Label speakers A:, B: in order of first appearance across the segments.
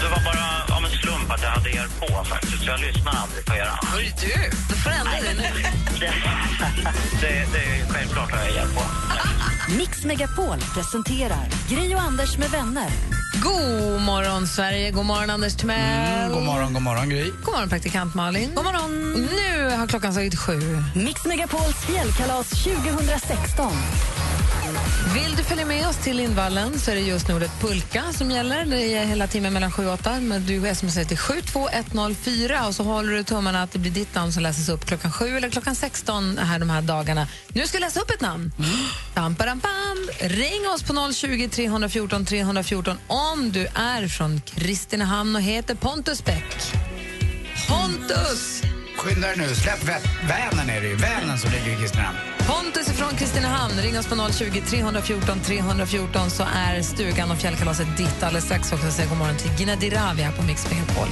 A: Det var bara av en slump att jag hade er på faktiskt. Jag lyssnade aldrig på er annars. Hörru du, du får ändra dig nu. det, det är självklart har jag er på.
B: Mix Megapol presenterar Gri och Anders med vänner.
C: God morgon, Sverige. God morgon, Anders Timell.
D: Mm, God morgon, god morgon Gry.
C: God morgon, praktikant Malin. God morgon. Nu har klockan slagit sju.
B: Mix Megapols fjällkalas 2016.
C: Vill du följa med oss till Lindvallen så är det just nu ordet pulka som gäller. Det är hela timmen mellan 7 och 8. Men du smsar till 72104 och så håller du tummarna att det blir ditt namn som läses upp klockan 7 eller klockan 16 här de här dagarna. Nu ska jag läsa upp ett namn. Pam, pam, pam. Ring oss på 020 314 314 om du är från Kristinehamn och heter Pontus Bäck. Pontus!
D: Skynda dig nu, släpp vä- Vänern är det ju. Vänern som ligger i Kristinehamn.
C: Pontus från Kristinehamn, ring oss på 020 314 314 så är stugan och fjällkalaset ditt. Alldeles strax också säger god morgon till Gina Dirawi här på Mix Megapol.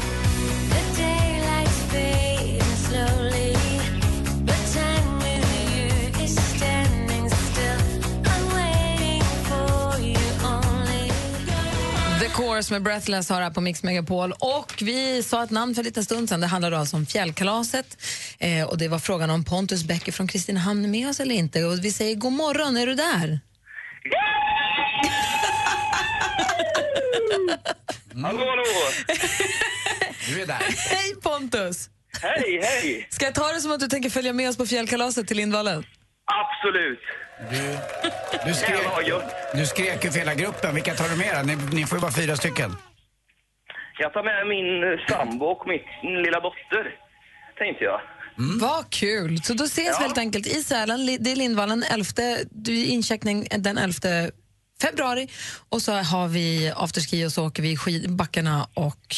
C: The Course med Breathless har här på Mix Megapol. Och vi sa ett namn för en liten stund sedan. Det handlade alltså om fjällkalaset. Eh, och det var frågan om Pontus Bäcker från Kristinehamn med oss eller inte. Och vi säger god morgon, är du där?
A: Hallå, hallå!
D: Du är där.
C: Hej Pontus!
A: Hej, hej!
C: Ska jag ta det som att du tänker följa med oss på fjällkalaset till Lindvallen?
A: Absolut!
D: Du, du,
A: Jävlar vad
D: skrek,
A: gött!
D: du skrek ju för hela gruppen. Vilka tar du med då? Ni, ni får ju bara fyra stycken.
A: Jag tar med min eh, sambo och min lilla dotter, tänkte jag.
C: Vad kul! Så då ses vi helt enkelt i Sälen. Li- Det är Lindvallen 11, du är incheckning den 11 februari. Och så har vi afterski och så åker vi i skidbackarna och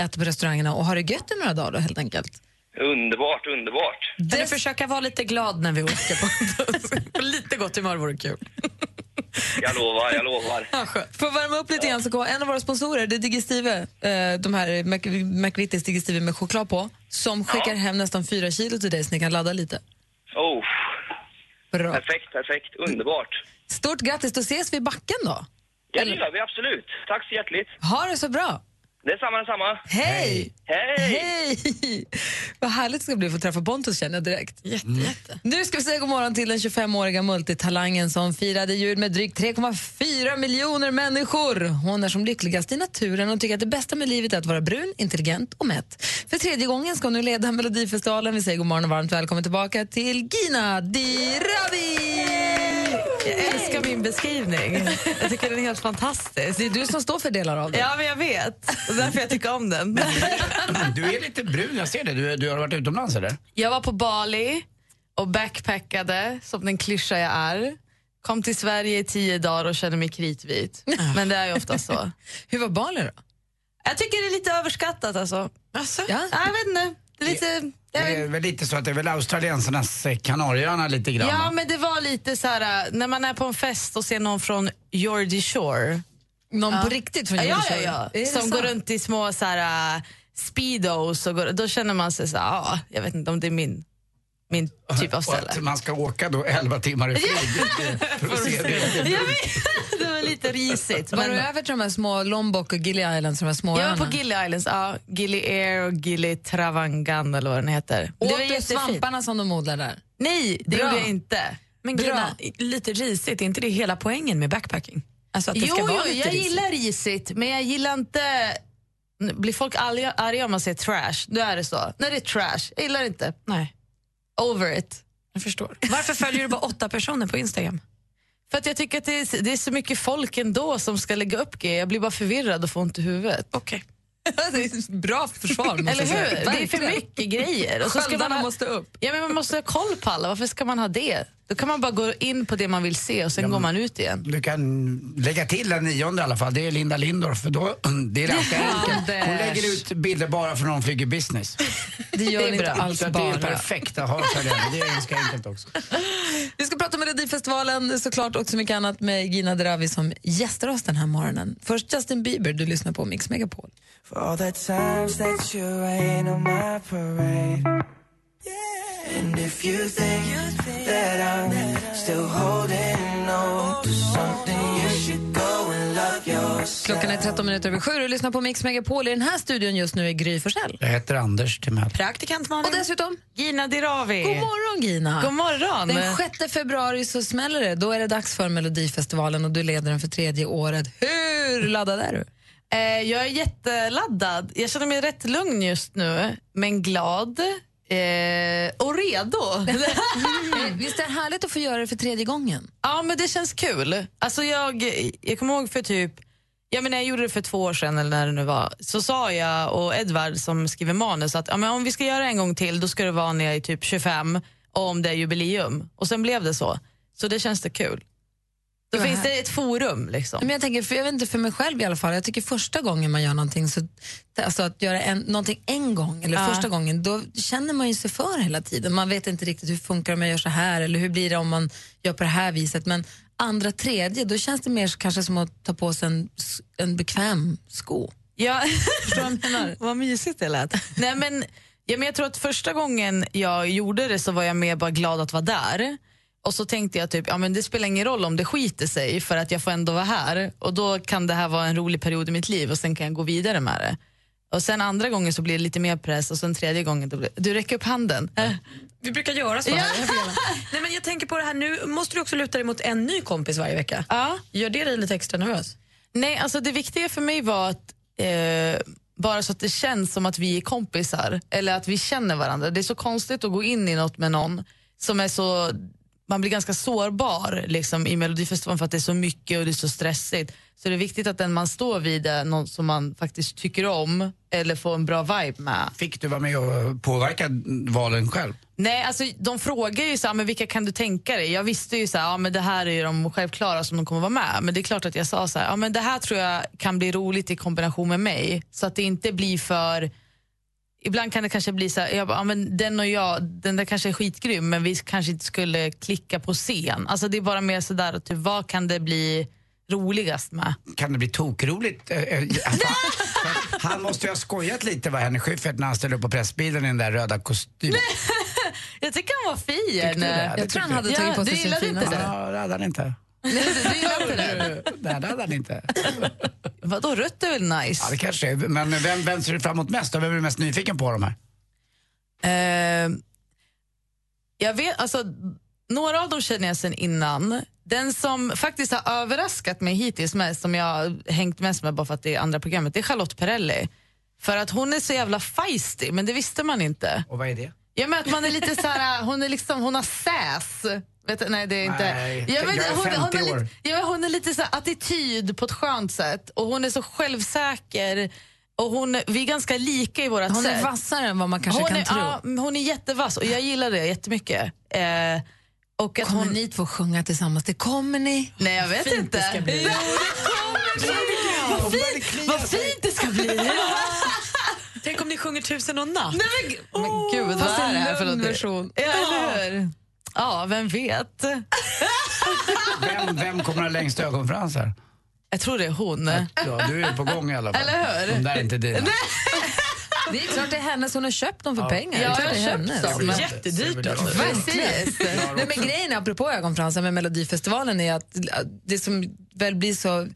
C: äter på restaurangerna och har det gött i några dagar då, helt enkelt.
A: Underbart, underbart.
C: Kan du försöka vara lite glad när vi åker? På lite gott humör vore kul.
A: Jag lovar, jag lovar.
C: För att värma upp lite grann så går en av våra sponsorer, det är Digestive, eh, de här Mc- McVittys Digestive med choklad på, som skickar hem nästan fyra kilo till dig så ni kan ladda lite.
A: Oh,
C: Bra.
A: perfekt, perfekt. Underbart.
C: Stort grattis, då ses vi i backen då.
A: Ja, det gör vi absolut. Tack så hjärtligt.
C: Ha det så bra.
A: Detsamma, detsamma.
C: Hej!
A: Hej!
C: Hej! Vad härligt det ska bli att få träffa Pontus känner jag direkt.
E: Jätte, jätte.
C: Nu ska vi säga god morgon till den 25-åriga multitalangen som firade jul med drygt 3,4 miljoner människor. Hon är som lyckligast i naturen och tycker att det bästa med livet är att vara brun, intelligent och mätt. För tredje gången ska hon nu leda Melodifestivalen. Vi säger god morgon och varmt välkommen tillbaka till Gina Dirawi!
E: Jag älskar min beskrivning. Jag tycker den är helt fantastisk.
C: Det är du som står för delar av det.
E: Ja, men jag vet. Och därför jag tycker om den.
D: Du är lite brun, jag ser det. Du, du har varit utomlands eller?
E: Jag var på Bali och backpackade som den klyscha jag är. Kom till Sverige i tio dagar och kände mig kritvit. Men det är ju ofta så.
C: Hur var Bali då?
E: Jag tycker det är lite överskattat alltså. alltså?
C: Ja.
E: jag vet inte. Det är lite...
D: Det
E: Jag vet
D: är väl lite så att det är väl australiensarnas eh, Kanarieöarna lite grann.
E: Ja,
D: va?
E: men det var lite så här äh, när man är på en fest och ser någon från Geordie Shore.
C: Någon på riktigt från
E: Ja,
C: Jersey?
E: ja,
C: Är
E: ja.
C: det
E: Som
C: sant?
E: går runt i små så här, äh, speedos och går, då känner man sig så här, ja, jag vet inte om det är min, min typ av
D: Och
E: ställe.
D: att man ska åka då 11 timmar i flyg. för att se det.
E: Jag vet, det var lite risigt.
C: Var du
E: Men,
C: över till de här små Lombok och Gili Islands, de här små
E: jag var
C: öarna?
E: på Gili Islands, ja, Gili Air och Gili Travangan eller vad den heter.
C: Åt du svamparna som de odlar där?
E: Nej, det
C: Bra.
E: gjorde jag inte.
F: Men
C: Bra.
F: Gina, lite risigt, är inte det hela poängen med backpacking? Alltså att det
E: Jo,
F: ska vara
E: jo
F: lite
E: jag
F: risigt.
E: gillar risigt, men jag gillar inte... Nu Blir folk arga, arga om man säger trash? Då är det så. När det är trash, jag gillar inte.
F: Nej,
E: Over it.
F: jag förstår. Varför följer du bara åtta personer på Instagram?
E: För att jag tycker att det är, det är så mycket folk ändå som ska lägga upp grejer. Jag blir bara förvirrad och får ont i huvudet.
F: Okej.
C: det är ett bra försvar måste
E: Eller
C: jag säga.
E: hur? Det är för
C: Alltså, Verkligen.
E: mycket grejer. Och så ska man
C: Sköldarna
E: ha,
C: måste upp.
E: ja, men man måste ha koll på alla. Varför ska man ha det? Då kan man bara gå in på det man vill se och sen går man ut igen.
D: Du kan lägga till den nionde i alla fall. Det är Linda Lindorff. För då, det är alltid enkelt. Hon lägger ut bilder bara för när hon flyger business.
C: Det gör
E: Det är
C: ni inte
E: bra.
C: alls
D: Så att det är
C: bara.
D: perfekt att ha för den. Det är ganska enkelt också.
C: Vi ska prata om Melodifestivalen såklart och så mycket annat med Gina Dravi som gästar oss den här morgonen. Först Justin Bieber, du lyssnar på Mix Megapol. Klockan är 13 minuter över sju och du lyssnar på Mix Megapol. I den här studion just nu är Gry Forssell.
D: Jag heter Anders Timell.
G: Praktikant
C: Och dessutom,
E: Gina Dirawi.
C: god morgon Gina!
E: God morgon.
C: Den 6 februari så smäller det. Då är det dags för Melodifestivalen och du leder den för tredje året. Hur laddad är du?
E: Eh, jag är jätteladdad. Jag känner mig rätt lugn just nu, men glad. Eh, och redo.
C: Eh, Visst är det härligt att få göra det för tredje gången?
E: ja, men det känns kul. Alltså jag, jag kommer ihåg för typ, ja, men när jag gjorde det för två år sedan eller när det nu var, så sa jag och Edvard som skriver manus att ja, men om vi ska göra en gång till då ska det vara när jag är typ 25 och om det är jubileum. Och sen blev det så. Så det känns det kul. Då
C: Vad
E: finns det ett forum liksom.
C: Men jag, tänker, för jag vet inte för mig själv i alla fall. Jag tycker första gången man gör någonting, så, alltså att göra en, någonting en gång eller
E: Ja.
C: första gången, då känner man ju sig för hela tiden. Man vet inte riktigt hur funkar det om jag gör så här eller hur blir det om man gör på det här viset. Men andra, tredje, då känns det mer så- kanske som att ta på sig en, s- en bekväm sko.
E: Ja. Förstår vad menar? Vad mysigt det lät. Nej, men, ja, men jag tror att första gången jag gjorde det så var jag mer bara glad att vara där. Och så tänkte jag typ, ja men det spelar ingen roll om det skiter sig för att jag får ändå vara här och då kan det här vara en rolig period i mitt liv och sen kan jag gå vidare med det. Och sen andra gången så blir det lite mer press och sen tredje gången då blir du räcker upp handen. Äh.
G: Vi brukar göra så. här. Nej, men jag tänker på det här, nu måste du också luta dig mot en ny kompis varje vecka.
E: Ja.
G: Gör det dig lite extra nervös?
E: Nej, alltså det viktiga för mig var att eh, bara så att det känns som att vi är kompisar eller att vi känner varandra. Det är så konstigt att gå in i något med någon som är så man blir ganska sårbar liksom, i Melodifestivalen för att det är så mycket och det är så stressigt. Så det är viktigt att den man står vid är någon som man faktiskt tycker om eller får en bra vibe med.
D: Fick du vara med och påverka valen själv?
E: Nej, alltså de frågar ju så här, "Ah, men vilka kan du tänka dig? Jag visste ju så här, ja, men det här är ju de självklara som de kommer vara med. Men det är klart att jag sa så här, ja, men det här tror jag kan bli roligt i kombination med mig. Så att det inte blir för... Ibland kan det kanske bli så här, jag bara, ja, men den och jag, den där kanske är skitgrym men vi kanske inte skulle klicka på scen. Alltså det är bara mer så där, typ, vad kan det bli roligast med?
D: Kan det bli tokroligt? Eh, eh, alltså, han måste ju ha skojat lite, vad Henrik Schyffert, när han ställde upp på pressbilen i den där röda kostymen.
E: Jag tycker han var fin.
D: Tyckte du det?
C: Jag tror han hade
E: Ja,
C: tagit på
E: du
C: sig sin
E: gillade inte
C: finaste.
E: det?
D: Ja, det hade han inte.
E: Du gillar inte det?
D: Nej, det hade han inte.
E: Vadå, rött är väl nice?
D: Ja, det kanske är. Men vem, vem ser du fram emot mest? då? Vem är du mest nyfiken på av de här?
E: Eh, jag vet, alltså, några av dem känner jag sen innan. Den som faktiskt har överraskat mig hittills mest, som jag har hängt mest med bara för att det är andra programmet, det är Charlotte Perrelli. För att hon är så jävla feisty, men det visste man inte.
D: Och vad är det?
E: Ja, men att man är lite så här, hon är liksom, hon har sass. Vet, du, nej, det är inte.
D: Nej,
E: Ja, men
D: jag är
E: hon, hon,
D: 50
E: är
D: år.
E: lite, ja, men hon är lite så här attityd på ett skönt sätt och hon är så självsäker. Och hon, vi är ganska lika i våra
C: Hon
E: sätt
C: är vassare än vad man kanske
E: hon
C: kan
E: är,
C: tro.
E: ja, men hon är jättevass och jag gillar det jättemycket. Eh, och att
C: Kommer
E: hon...
C: ni två sjunga tillsammans? Det kommer ni.
E: Nej, jag vet inte. Jo, det kommer bli. Vad fint, vad fint det ska bli!
G: Tänk om ni sjunger tusen och en natt?
E: Men gud, vad är det här för någonting? Ja, eller hur? Ja, vem vet?
D: Vem, vem kommer ha längst ögonfrans här?
E: Jag tror det är hon.
D: Ja, du är på gång i alla fall.
E: Eller hur?
D: De där är inte dina.
C: Det är klart det är hennes, hon har köpt dem för pengar.
E: Ja,
C: det är klart
E: jag
C: det är
E: har köpt
C: hennes.
E: dem.
D: Men-
G: Jättedyrt alltså.
E: Precis.
C: Nej, men grejen är, apropå ögonfransar med Melodifestivalen är att äh, det som väl blir så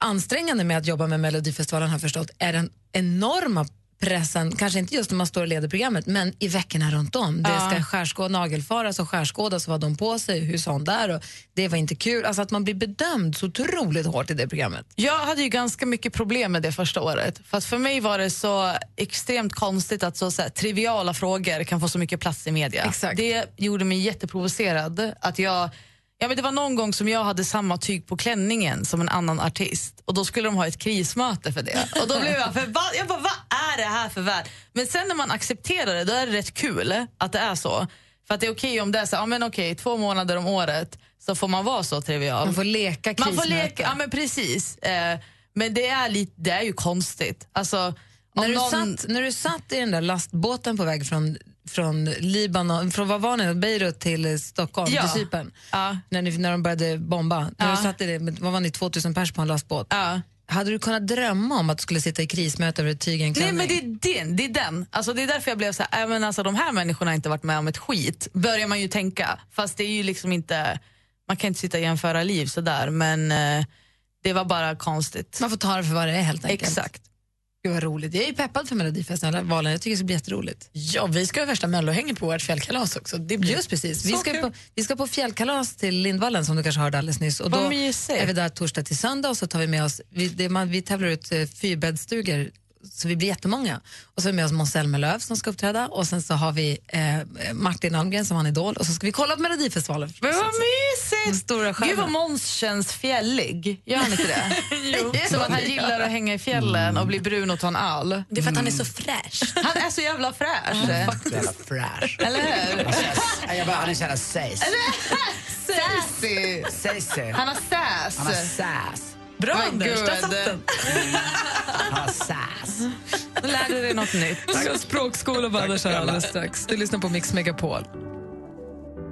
C: ansträngande med att jobba med Melodifestivalen har jag förstått är den enorma pressen, kanske inte just när man står och leder programmet, men i veckorna runt om. Det ska skärskå, nagelfaras och skärskådas och vad de på sig, hur sa hon där och det var inte kul. Alltså att man blir bedömd så otroligt hårt i det programmet.
E: Jag hade ju ganska mycket problem med det första året. För att för mig var det så extremt konstigt att så, så här, triviala frågor kan få så mycket plats i media.
C: Exakt.
E: Det gjorde mig jätteprovocerad. Att jag, ja, men det var någon gång som jag hade samma tyg på klänningen som en annan artist och då skulle de ha ett krismöte för det. Och då blev jag förbannad. Jag bara, vad är det här för värld? Men sen när man accepterar det, då är det rätt kul att det är så. För att det är okej om det är så här, ja men okej, två månader om året så får man vara så trivial.
C: Man får leka
E: Man får
C: krismöte.
E: leka, ja men precis. Eh, men det är, lite, det är ju konstigt. Alltså, om
C: När du,
E: någon-
C: satt, när du satt i den där lastbåten på väg från, från Libanon, från vad var ni, Beirut till eh, Stockholm,
E: Ja.
C: till Cypern,
E: Ja.
C: när, ni, när de började bomba, när
E: Ja.
C: du satt i det, med- vad var ni, 2000 pers på en lastbåt?
E: Ja.
C: Hade du kunnat drömma om att du skulle sitta i krismöte över ett tyg i en
E: Nej
C: klänning?
E: men det är den, det är den. Alltså, det är därför jag blev så här, även alltså, de här människorna har inte varit med om ett skit, börjar man ju tänka. Fast det är ju liksom inte, man kan inte sitta och jämföra liv sådär men eh, det var bara konstigt.
C: Man får ta det för vad det är helt enkelt.
E: Exakt.
C: Gud vad roligt. Jag är ju peppad för Melodifestivalen, jag tycker det ska bli jätteroligt.
H: Ja, vi ska ha värsta mellohänget på vårt fjällkalas också. Det blir...
C: Just precis. Vi
H: Så
C: ska,
H: kul.
C: på, vi ska på fjällkalas till Lindvallen som du kanske hörde alldeles nyss. Och
E: Vad
C: då
E: mysigt.
C: är vi där torsdag till söndag och så tar vi med oss, vi, det, man, vi tävlar ut eh, fyrbäddsstugor så vi blir jättemånga. Och så är vi med oss Måns Zelmerlöw som ska uppträda och sen så har vi eh, Martin Almgren som var en idol och så ska vi kolla på Melodifestivalen.
E: Men vad
C: Den
E: mysigt!
C: stora
E: Gud vad
C: skärmen.
E: Måns känns fjällig, gör han inte det?
H: Jo.
E: Som att han gillar att hänga i fjällen och bli brun och ta en öl. Mm.
H: Det är för att han är så fräsch.
E: Han är så jävla fräsch.
D: Jävla fräsch.
E: Eller hur?
D: Ja, jag bara, han är så jävla säs.
E: Sassy.
D: Säsig.
E: Han har
D: Han har
E: sass.
D: säs. Mm.
H: Bra
E: Men
H: Anders, där
E: gud.
H: satt den.
D: Han har säs.
E: Nu lärde dig något nytt.
C: Vi ska ha språkskola med Anders här alldeles strax. Du lyssnar på Mix Megapol.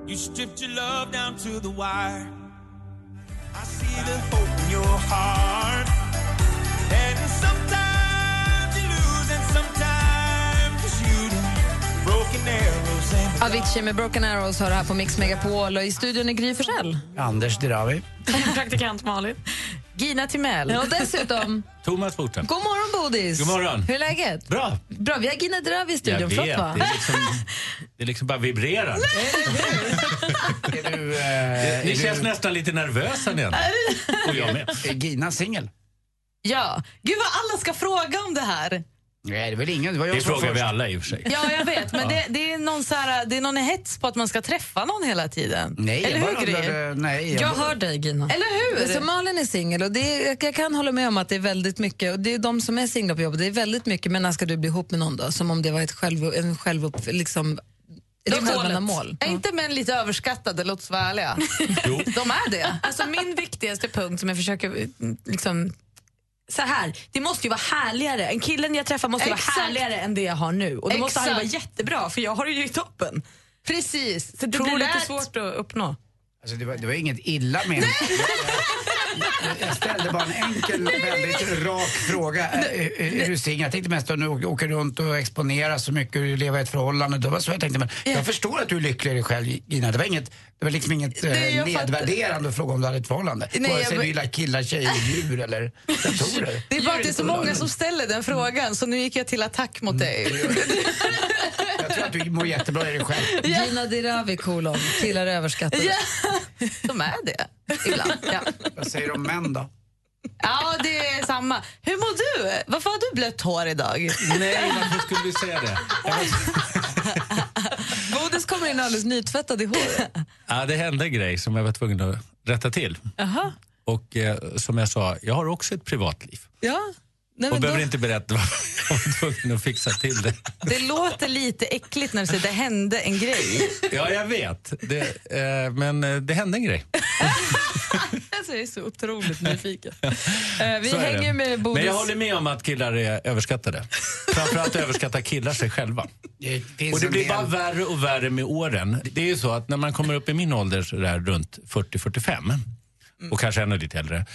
I: You stripped your love down to the wire. I see the hope in your heart. And sometimes you lose, and sometimes you shoot. Broken arrows and
C: Avicii med Broken Arrows har det här på Mix Megapol och i studion är Gry Forssell.
D: Anders Dirawi.
H: Praktikant Malin.
E: Gina Timell.
C: Och dessutom,
A: Thomas Bodström.
C: god morgon Bodis!
A: God morgon.
C: Hur är läget?
A: Bra!
C: Bra, vi har Gina Dravi i
A: Jag vet,
C: studion.
A: det
C: Flott, va?
A: är, liksom, det är liksom bara vibrerar.
D: Är du, eh,
A: Ni
D: är
A: känns nästan lite nervösa ni andra. Och jag med.
D: du, är Gina singel?
E: Ja. Gud vad alla ska fråga om det här.
D: Nej, det är väl ingen. Det var jag
A: Det
D: som var
A: frågar vi
D: först.
A: alla i och för sig.
E: Ja, jag vet. Men det, det, är någon så här, det är någon hets på att man ska träffa någon hela tiden.
D: Nej,
E: Eller
D: jag
E: hur,
D: bara
E: Gry?
D: undrade, nej, jag
C: Jag
D: bara-
C: hör dig, Gina.
E: Eller hur?
C: Så Malin är singel och det är, jag kan hålla med om att det är väldigt mycket, och det är de som är singlar på jobbet, det är väldigt mycket, men när ska du bli ihop med någon då? Som om det var ett själv, en självupp, liksom, ett
E: Det är målet.
C: självändamål.
E: Är inte män lite överskattade, låt oss vara ärliga.
A: Jo.
E: De är det.
H: Alltså min viktigaste punkt som jag försöker eh, liksom så här, det måste ju vara härligare. En killen jag träffar måste ju vara
E: Exakt.
H: härligare än det jag har nu. Och då måste han ju vara
E: Exakt.
H: jättebra för jag har det ju i toppen.
E: Precis.
H: Så det blir lite svårt att uppnå.
D: Alltså, det, var, det var inget illa men. Jag ställde bara en enkel, väldigt rak fråga. Eh, eh, Är du singel? Jag tänkte mest att nu åker- åker runt och exponeras så mycket och lever i ett förhållande. Det var så jag tänkte. Men jag förstår att du är lycklig i dig själv, Gina. Det var, inget, det var liksom inget eh,
E: Nej, jag fattar.
D: nedvärderande att fråga om du hade ett förhållande.
E: Nej,
D: Vare
E: jag
D: sig
E: be-
D: du gillar killar, tjejer, djur eller datorer.
E: Det är bara att det är så många som ställer den frågan, så nu gick jag till attack mot
C: Mm.
E: dig.
D: Jag tror att du mår jättebra i dig själv.
C: Gina Dirawi, kolon, killar är överskattade.
E: Ja. De är det, ibland. Ja.
D: Vad säger du om män då?
E: ja, det är samma. Hur mår du? Varför har du blött hår idag?
A: Nej, varför skulle du säga det?
C: Bodis kommer in alldeles nytvättad i håret.
A: Ja, det hände en grej som jag var tvungen att rätta till. Och eh, som jag sa, jag har också ett privatliv.
C: Ja. Nej,
A: Och
C: men
A: behöver
C: då-
A: inte berätta varför jag var tvungen att fixa till det.
E: Det låter lite äckligt när du säger det hände en grej.
A: Ja, jag vet. Det, eh, men eh, det hände en grej.
C: Alltså, jag är så otroligt nyfiken. Eh, vi
A: Så är det.
C: hänger med Bodis.
A: Men jag håller med om att killar är överskattade. Framförallt överskattar killar sig själva.
D: Det finns
A: Och det
D: en
A: blir
D: del-
A: bara värre och värre med åren. Det är ju så att när man kommer upp i min ålder, så där runt 40-45 och kanske ännu lite äldre,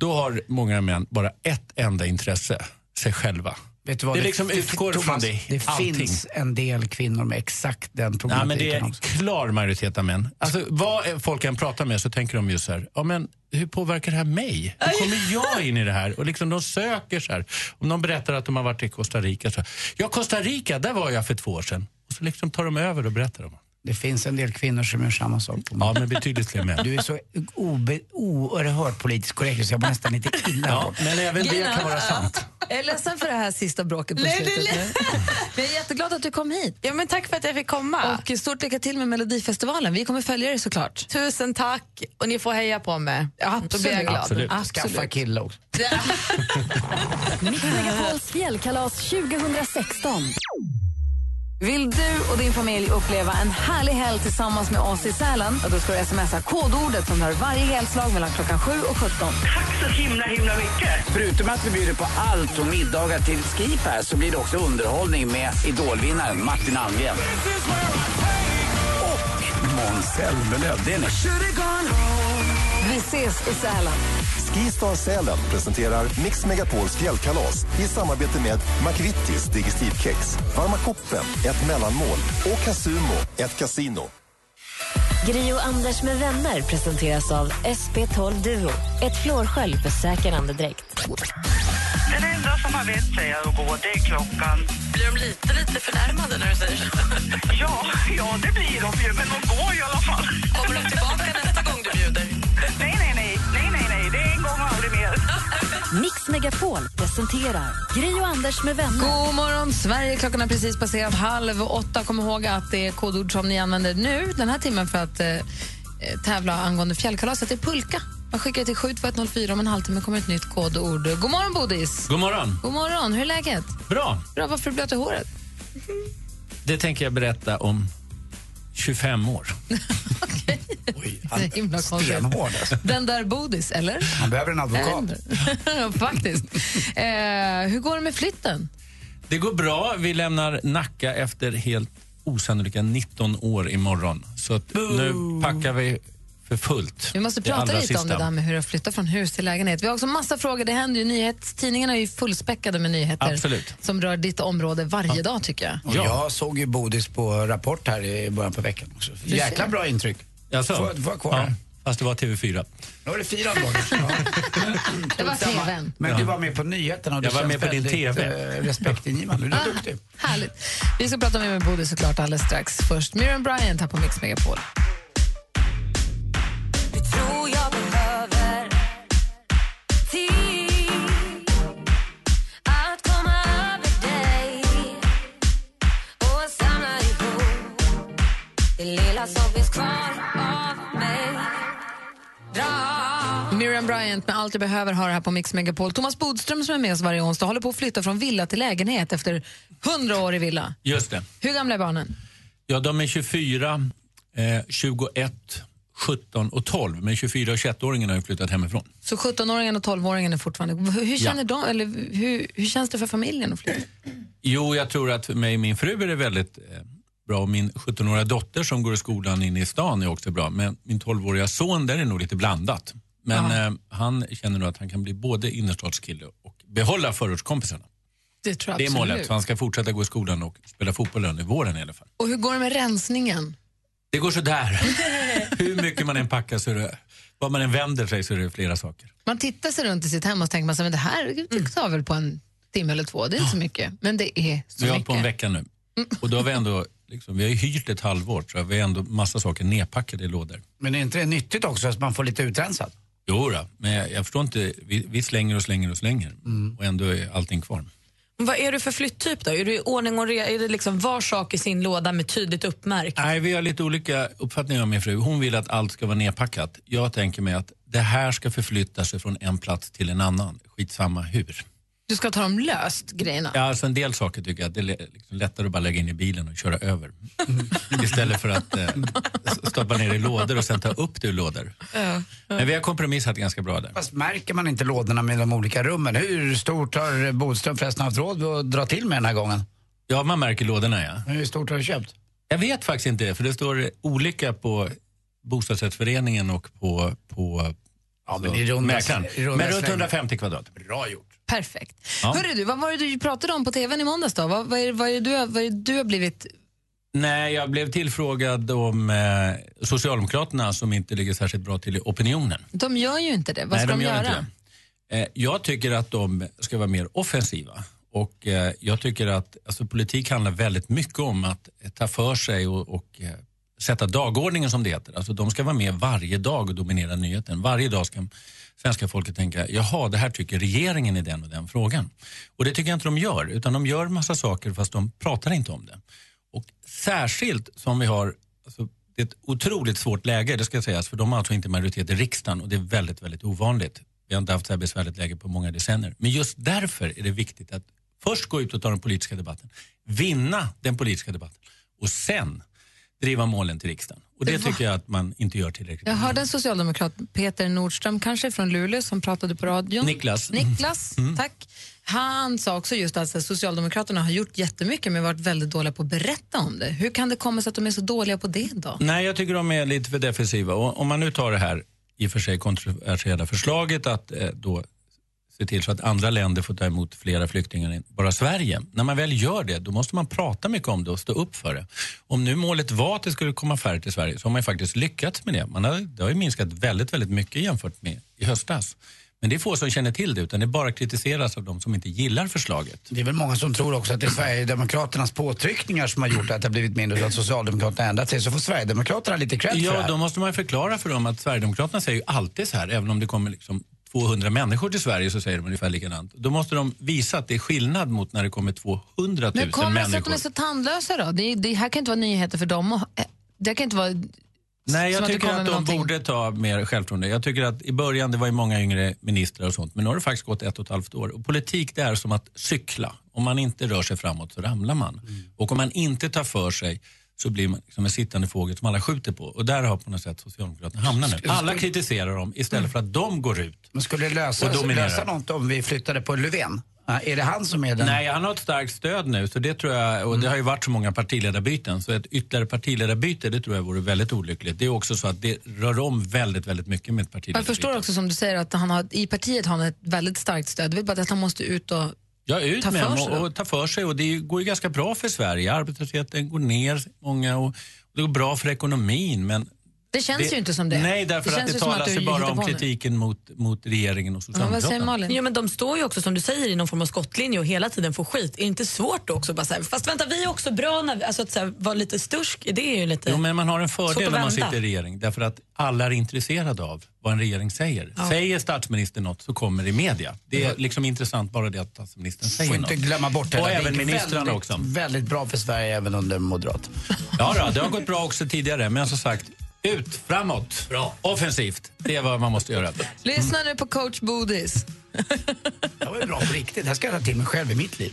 A: då har många män bara ett enda intresse, sig själva.
D: Vet du vad,
A: det, liksom utgår
D: Thomas,
A: från det,
D: Det
A: allting.
D: finns en del kvinnor med exakt den
A: Ja, men
D: problematiken
A: det är en
D: också.
A: klar majoritet av män. Alltså, vad folk än pratar med så tänker de ju så här, ja, men hur påverkar det här mig? Hur kommer jag in i det här? Och liksom, de söker så här. Om de berättar att de har varit i Costa Rica, så här, ja Costa Rica, där var jag för två år sedan. Och så liksom tar de över och berättar om det.
D: Det finns en del kvinnor som gör samma sak på mig.
A: Ja, men betydligt fler män.
D: Du är så obe, oerhört politiskt korrekt så jag mår nästan lite illa.
A: Ja, men även det
C: Gina.
A: kan vara sant.
C: Jag är ledsen för det här sista bråket på
E: Nej,
C: slutet.
E: nej, nej.
C: nu. Men jag är jätteglad att du kom hit.
E: Ja, men tack för att jag fick komma.
C: Och stort lycka till med Melodifestivalen. Vi kommer följa dig såklart.
E: Tusen tack och ni får heja på mig. Då blir jag
C: absolut.
E: glad.
A: Absolut.
D: Skaffa kille också.
B: Mix Megapols fjällkalas 2016. Vill du och din familj uppleva en härlig helg tillsammans med oss i Sälen? Ja, Då ska du smsa kodordet som hör varje helslag mellan klockan 7 och 17.
A: Så himla, himla mycket.
J: Förutom att vi bjuder på allt och middagar till Skipar så blir det också underhållning med idolvinnaren Martin Almgren. Och Måns Zelmerlöw. Det är ni.
B: Vi ses i Sälen.
K: Skistar Sälen presenterar Mix Megapols fjällkalas i samarbete med McVittys Digestivkex, Varma koppen, ett mellanmål och Casumo, ett kasino.
L: Gri och Anders med vänner presenteras av SP12 Duo. Ett flårskölj för säker andedräkt.
A: Den enda som har vett säger jag att gå, det är klockan. Blir de lite, lite förnärmade när du säger så? ja, ja, det blir de ju, men de går i alla fall. Kommer de tillbaka nästa gång du bjuder? Nej, nej, nej, nej, nej, nej. det är en gång och aldrig mer.
B: Mix Megapol presenterar Gri och Anders med vänner.
E: God morgon, Sverige. Klockan har precis passerat halv åtta. Kom ihåg att det är kodord som ni använder nu den här timmen för att eh, tävla angående fjällkalaset. Det är pulka. Man skickar det till 72104. Om en halvtimme kommer ett nytt kodord. God morgon, Bodis.
C: God morgon.
E: God morgon. Hur är läget?
C: Bra.
E: Bra. Varför blöter håret?
C: Det tänker jag berätta om 25 år.
E: Det är himla konstigt.
D: Stenhård.
E: Den där Bodis, eller?
D: alltså. Han behöver en advokat.
E: Nej. Faktiskt. Eh, hur går det med flytten?
C: Det går bra. Vi lämnar Nacka efter helt osannolika 19 år imorgon. Så att nu packar vi för fullt.
E: Vi måste
C: Det allra
E: prata lite om
C: sista.
E: det där med hur att flytta från hus till lägenhet. Vi har också massa frågor. Det händer ju nyhets... Tidningarna är ju fullspäckade med nyheter
D: Absolut.
E: som rör ditt område varje dag, tycker jag.
D: Och jag såg ju Bodis på Rapport här i början på veckan också.
C: Du
D: Jäkla
C: ser.
D: bra intryck.
C: Jaså?
D: Får, får jag kvar?
C: Alltså, Ja, fast det var TV4.
D: Nu var det fyra dagar.
E: Det var tvn.
D: Men
C: Ja.
D: du var med på nyheterna och
C: Jag
D: du
C: var
D: känns
C: med på din Ah.
D: väldigt,
C: TV.
D: eh, respektingivande. Du är duktig.
E: Härligt. Vi ska prata mer med Bodil såklart alldeles strax. Först Miriam Bryant här på Mix Megapol.
M: Du tror jag behöver tid att komma över dig och samla ihop det lilla som finns kvar av mig.
E: Miriam Bryant med Allt jag behöver har det här på Mix Megapol. Thomas Bodström som är med oss varje onsdag håller på att flytta från villa till lägenhet efter 100 år i villa.
C: Just det.
E: Hur gamla är barnen?
C: Ja, de är 24, eh, 21, 17 och 12. Men 24 och 21-åringarna har ju flyttat hemifrån.
E: Så 17-åringen och 12-åringen är fortfarande... Hur, hur,
C: Ja.
E: känner de, eller hur, hur känns det för familjen att flytta?
C: Jo, jag tror att för mig och min fru är det väldigt eh, bra. Och Min 17-åriga dotter som går i skolan inne i stan är också bra. Men min 12-åriga son, där är nog lite blandat. Men eh, han känner nog att han kan bli både innerstadskille och behålla förortskompisarna.
E: Det tror jag
C: Det är
E: absolut.
C: målet. Så han ska fortsätta gå i skolan och spela fotboll under våren i alla fall.
E: Och hur går det med rensningen?
C: Det går sådär. Hur mycket man än packar så är det, vad man än vänder sig så är det flera saker. Mm.
E: Man tittar sig runt i sitt hem och så tänker man sig, men det här tar väl på en timme eller två, det är inte så mycket. Men det är
C: Ah.
E: så
C: Vi har hållit
E: mycket. Mm.
C: på en vecka nu. Och då har vi ändå, liksom, vi har ju hyrt ett halvår så vi har ändå massa saker nedpackade i lådor.
D: Men är inte det nyttigt också så att man får lite utrensat?
C: Jo då, men jag, jag förstår inte, vi, vi slänger och slänger och slänger och ändå är allting kvar.
F: Vad är du för flytttyp då? Är du i ordning och re- är det liksom var sak i sin låda med tydligt uppmärkt?
C: Nej, vi har lite olika uppfattningar om min fru. Hon vill att allt ska vara nedpackat. Jag tänker mig att det här ska förflytta sig från en plats till en annan. Skitsamma hur.
E: Du ska ta dem löst, grejerna.
C: Ja, alltså en del saker tycker jag att det är le- liksom lättare att bara lägga in i bilen och köra över. Istället för att eh, s- stoppa ner i lådor och sen ta upp det ur lådor. Men vi har kompromissat ganska bra där.
D: Fast märker man inte lådorna med de olika rummen? Hur stort har Bodström förresten haft råd att dra till med den här gången?
C: Ja, man märker lådorna ja.
D: Hur stort har du köpt?
C: Jag vet faktiskt inte det, för det står olika på bostadsrättsföreningen och på, på
D: men
C: så,
D: i runda-
C: mäklaren.
D: i runda
C: Men runt
D: slängar.
C: 150 kvadrat.
D: Bra gjort.
E: Perfekt.
C: Ja.
E: Hörru du, vad var det du pratade om på tvn i måndags då? Vad, vad, är, vad, är, du, vad är du har blivit...
C: Nej, jag blev tillfrågad om eh, Socialdemokraterna som inte ligger särskilt bra till i opinionen.
E: De gör ju inte det. Vad
C: Nej,
E: ska de,
C: de gör
E: göra?
C: inte Eh, Jag tycker att de ska vara mer offensiva. Och eh, jag tycker att alltså, politik handlar väldigt mycket om att eh, ta för sig och, och eh, sätta dagordningen som det heter. Alltså, de ska vara med varje dag och dominera nyheten. Varje dag ska svenska folket tänka, jaha, det här tycker regeringen i den och den frågan. Och det tycker jag inte de gör, utan de gör massa saker fast de pratar inte om det. Och särskilt som vi har alltså, det är ett otroligt svårt läge, det ska sägas, för de har alltså inte majoritet i riksdagen och det är väldigt, väldigt ovanligt. Vi har inte haft så här besvärligt läge på många decennier. Men just därför är det viktigt att Först gå ut och ta den politiska debatten, vinna den politiska debatten och sen driva målen till riksdagen. Och det tycker jag att man inte gör tillräckligt.
E: Jag hörde en socialdemokrat, Peter Nordström kanske från Luleå, som pratade på radion.
C: Niklas.
E: Niklas,
C: Mm.
E: tack. Han sa också just att alltså, Socialdemokraterna har gjort jättemycket men varit väldigt dåliga på att berätta om det. Hur kan det komma sig att de är så dåliga på det då?
C: Nej, jag tycker de är lite för defensiva. Och om man nu tar det här i och för sig kontroversiella förslaget att eh, då se till så att andra länder får ta emot flera flyktingar än bara Sverige. När man väl gör det, då måste man prata mycket om det och stå upp för det. Om nu målet var att det skulle komma färre till Sverige så har man ju faktiskt lyckats med det. Man har, det har ju minskat väldigt, väldigt mycket jämfört med i höstas. Men det är få som känner till det utan det bara kritiseras av de som inte gillar förslaget.
D: Det är väl många som tror också att det är Sverigedemokraternas påtryckningar som har gjort att det har blivit mindre och att Socialdemokraterna har ändrat sig. Så får Sverigedemokraterna lite cred för det
C: Ja,
D: här.
C: då måste man ju förklara för dem att Sverigedemokraterna säger ju alltid så här, även om det kommer liksom 200 människor till Sverige så säger de ungefär likadant. Då måste de visa att det är skillnad mot när det kommer 200 000
E: Men kommer det sig att de
C: människor.
E: är så tandlösa då? Det, det här kan inte vara nyheter för dem. Och, eh, det kan inte vara...
C: Nej, jag
E: som att det
C: tycker
E: kommer
C: att,
E: med
C: de
E: någonting.
C: borde ta mer självförtroende. Jag tycker att i början det var ju många yngre ministrar och sånt, men nu har det faktiskt gått ett och ett halvt år. Och politik det är som att cykla. Om man inte rör sig framåt så ramlar man.
E: Mm.
C: Och om man inte tar för sig så blir man som en sittande fågel som alla skjuter på. Och där har på något sätt Socialdemokraterna hamnat nu. Alla kritiserar dem
E: Mm.
C: istället för att de går ut
D: Men skulle det
C: Och
D: lösa,
C: dominerar.
D: lösa något om vi flyttade på Löfven? Ja, Är det han som är den?
C: Nej, han har ett starkt stöd nu. Så det tror jag, och det har ju varit så många partiledarbyten. Så ett ytterligare partiledarbyte det tror jag vore väldigt olyckligt. Det är också så att det rör om väldigt, väldigt mycket med ett
E: Jag
C: partiledarbyte.
E: förstår också som du säger att han har, i partiet har han ett väldigt starkt stöd. Det är bara det att han måste ut och...
C: Ja, ut
E: Ta
C: med
E: för
C: dem
E: sig då.
C: och, och ta för sig. Och det är ju- går ju ganska bra för Sverige. Arbetslösheten går ner, många, och, och det går bra för ekonomin. Men
E: Det känns ju inte som det.
C: Nej, därför
E: Det
C: att
E: känns
C: det
E: ju som att
C: talas
E: du
C: ju bara
E: hittar
C: om
E: på nu.
C: kritiken mot, mot regeringen och
E: Ja, vad
C: Socialdemokraterna. Mm.
E: säger Malin?
F: Jo, men de står ju också som du säger i någon form av skottlinje och hela tiden får skit. Är det inte svårt då också? Bara så här, fast vänta, vi är också bra när vi, alltså att så här, vara lite stursk, det är ju lite...
C: Jo, men man har en
F: Svårt
C: fördel
F: att
C: när man
F: vända.
C: sitter i regering därför att alla är intresserade av vad en regering säger.
D: Ja.
C: Säger statsministern något så kommer det i media. Det är liksom intressant bara det att statsministern säger
D: Får inte
C: något.
D: glömma bort
C: Och
D: det.
C: även
D: Det gick
C: ministrarna
D: väldigt,
C: också.
D: Väldigt bra för Sverige även under moderat.
C: Ja, då, det har gått bra också tidigare, men som sagt, ut, framåt, bra. offensivt. Det är vad man måste göra.
E: Lyssna nu på coach Bodis.
D: Det var ju bra på riktigt. Det här ska jag ta till mig själv i mitt liv.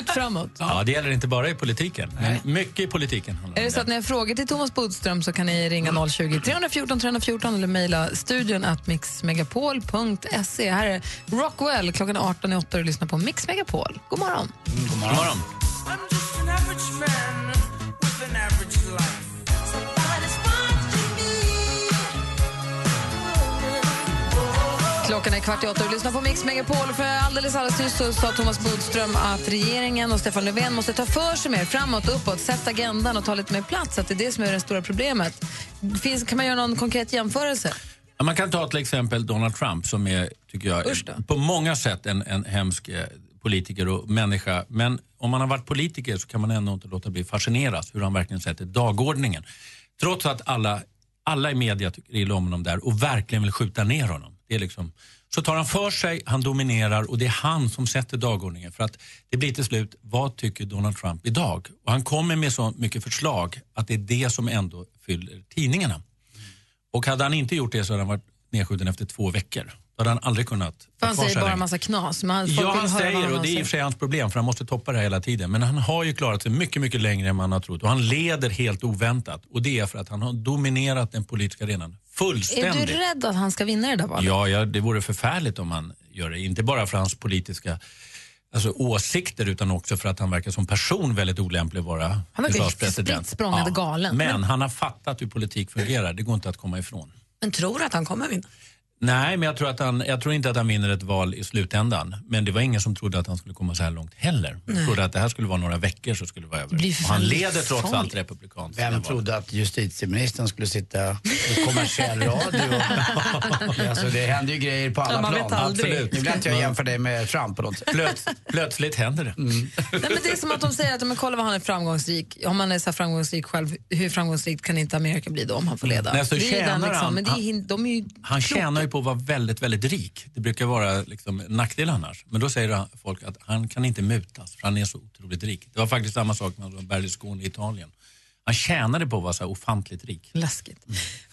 E: Ut framåt.
C: Ja, det gäller inte bara i politiken, men mycket i politiken. handlar
E: Är det så att ni har frågor till Thomas Bodström så kan ni ringa 020 314 314 eller mejla studion att mixmegapol.se. Här är Rockwell klockan 18.08 och lyssnar på Mix Megapol. God morgon!
C: God morgon.
M: I'm just an average man with an average life. Somebody's watching
E: Klockan är kvart i åtta och du lyssnar på Mix Megapol. För alldeles alldeles nyss så sa Thomas Bodström att regeringen och Stefan Löfven måste ta för sig mer framåt, uppåt, sätta agendan och ta lite mer plats. Att det är det som är det stora problemet. Finns, kan man göra någon konkret jämförelse?
C: Ja, Man kan ta till exempel Donald Trump som är, tycker jag, på många sätt en, en hemsk eh, politiker och människa. Men om man har varit politiker så kan man ändå inte låta bli fascineras hur han verkligen sätter dagordningen. Trots att alla, alla i media tycker illa om honom där och verkligen vill skjuta ner honom. Det är liksom, så tar han för sig, han dominerar och det är han som sätter dagordningen. För att det blir till slut, vad tycker Donald Trump idag? Och han kommer med så mycket förslag att det är det som ändå fyller tidningarna. Och hade han inte gjort det så hade han varit nedskjuten efter två veckor. Då hade han aldrig kunnat
E: För
C: vara
E: han
C: kvar
E: säger
C: så här
E: bara en
C: länge.
E: massa knas. Men han, folk
C: Ja,
E: vill
C: han
E: höra vad
C: säger, och det är i
E: säger.
C: och för sig hans problem för han måste toppa det här hela tiden. Men han har ju klarat sig mycket, mycket längre än man har trott. Och han leder helt oväntat. Och det är för att han har dominerat den politiska arenan
E: Är
C: fullständigt.
E: du rädd att han ska vinna det där valet?
C: Ja, ja, det vore förfärligt om han gör det. Inte bara för hans politiska alltså, åsikter utan också för att han verkar som person väldigt olämplig att vara
E: Han verkar spritt språngande galen.
C: Men
E: Men-
C: han har fattat hur politik fungerar. Det går inte att komma ifrån.
F: Men tror att han kommer vinna?
C: Nej, men jag tror, att han, jag tror inte att han vinner ett val i slutändan. Men det var ingen som trodde att han skulle komma så här långt heller.
D: Nej.
C: De trodde att det här skulle vara några veckor så skulle det vara
D: blir
C: över.
D: för
C: Och han
D: fan
C: leder trots
D: farligt.
C: allt republikanskt.
D: Vem trodde att justitieministern skulle sitta i kommersiell radio? alltså, det händer ju grejer på alla
C: Ja, man
D: plan.
C: vet aldrig.
D: Absolut. Nu vill jag inte jag jämför dig med Trump på något sätt.
C: plötsligt händer det.
E: Mm. Nej, men det är som att de säger att men, kolla vad han är framgångsrik. Om han är så här framgångsrik själv, hur framgångsrikt kan inte Amerika bli då om han får leda?
C: Mm. Nej, så
E: det är ju den,
C: tjänar
E: liksom,
C: han-
E: men det är, hin- de är ju
C: Han
E: kloka.
C: tjänar ju på att vara väldigt, väldigt rik. Det brukar vara liksom en nackdel annars. Men då säger han- folk att han kan inte mutas för han är så otroligt rik. Det var faktiskt samma sak med Berlusconi i Italien. Man tjänade på att vara så här ofantligt rik.
E: Läskigt.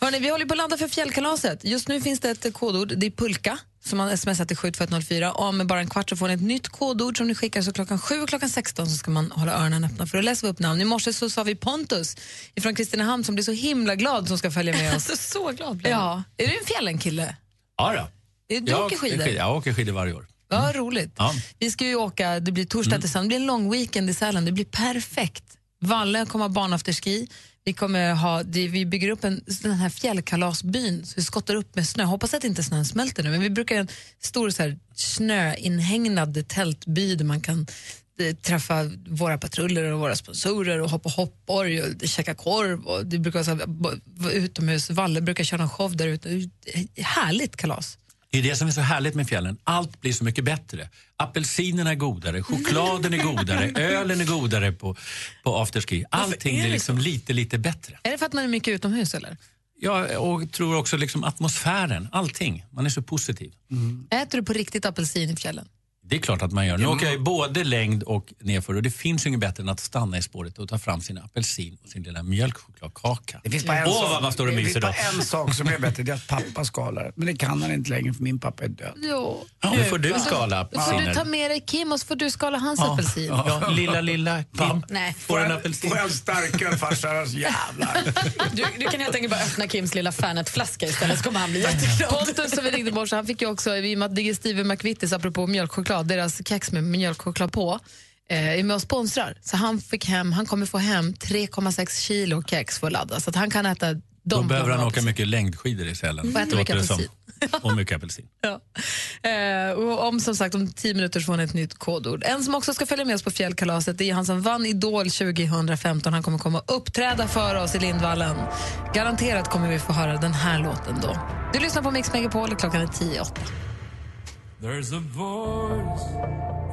E: Hörrni, vi håller på att landa för fjällkalaset. Just nu finns det ett kodord, det är pulka, som man smsar till 72104. Om bara en kvart så får ni ett nytt kodord som ni skickar så klockan 7 och klockan 16 så ska man hålla öronen öppna för att läsa upp namn. I morse så sa vi Pontus från Kristinehamn som blir så himla glad som ska följa med oss.
F: Alltså, så glad blev jag.
E: Ja, är du en fjällenkille?
C: Ja, då.
E: Du åker skidor?
C: Jag åker skidor varje år. Mm.
E: Ja, roligt.
C: Ja. Mm.
E: Vi ska ju åka, det blir torsdag till söndag, det blir en lång weekend i Sälen, det blir perfekt. Valle kommer ha barnafterski, vi, kommer ha, det- vi bygger upp en, den här fjällkalasbyn så vi skottar upp med snö. Hoppas att inte snön smälter nu, men vi brukar en stor så här, snöinhägnad tältby där man kan eh, träffa våra patruller och våra sponsorer och hoppa hoppborg och käka korv. Och det brukar vara så här, bo- bo- utomhus. Valle brukar köra en show där ute. Härligt kalas.
C: Det är det som är så härligt med fjällen. Allt blir så mycket bättre. Apelsinerna är godare, chokladen är godare, ölen är godare på, på afterski. Allting blir liksom lite, lite bättre.
E: Är det för att man är mycket utomhus eller?
C: Jag och tror också liksom atmosfären, allting. Man är så positiv.
E: Äter du på riktigt apelsin i fjällen?
C: Det är klart att man gör. Nu åker jag ju både längd och nedför och det finns ju inget bättre än att stanna i spåret och ta fram sin apelsin och sin lilla mjölkchokladkaka.
D: Det finns bara en,
C: Åh,
D: sak-
C: vad man står och
D: det finns
C: myser då.
D: bara en sak som är bättre, det är att pappa skalar. Men det kan han inte längre för min pappa är död.
E: Jo.
D: Ja, nu får du skala
E: Då får du
D: apelsiner.
E: ta med dig Kim och så får du skala hans apelsin.
D: Ja, lilla, lilla Kim.
E: Nej.
D: Får en apelsin. Får en starköl farsan, jävlar.
F: Du, du kan helt enkelt bara öppna Kims lilla Fernet-flaska istället så kommer han bli jätteglad.
E: Pontus som vi ringde bort, så han fick ju också, i och med att Digestive McVittys, apropå mjölkchoklad, deras kex med mjölkchoklad på, eh, är med och sponsrar. Så han fick hem, han kommer få hem 3,6 kilo kex för att ladda. Så att han kan äta dem.
C: Då behöver
E: bland
C: han
E: annat.
C: åka mycket längdskidor i Sälen.
E: Och äta mycket
C: låter det som. Och mycket apelsin.
E: Eh, och om som sagt om 10 minuter så får ni ett nytt kodord. En som också ska följa med oss på fjällkalaset det är han som vann Idol 2015. Han kommer komma och uppträda för oss i Lindvallen. Garanterat kommer vi få höra den här låten då. Du lyssnar på Mix Megapol och klockan är 10 i åtta.
M: There's a voice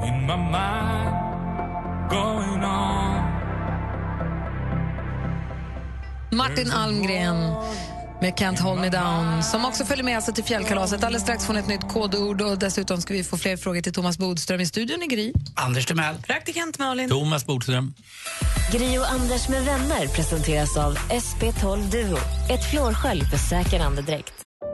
M: in my mind going on.
E: Martin Almgren med Can't Hold Me Down som också följer med alltså till fjällkalaset. Alldeles strax får ni ett nytt kodord och dessutom ska vi få fler frågor till Thomas Bodström i studion i Gry.
D: Anders Timell.
F: Praktikant Malin.
C: Thomas Bodström.
L: Gri och Anders med vänner presenteras av SP12 Duo. Ett flårskölj för säker andedräkt.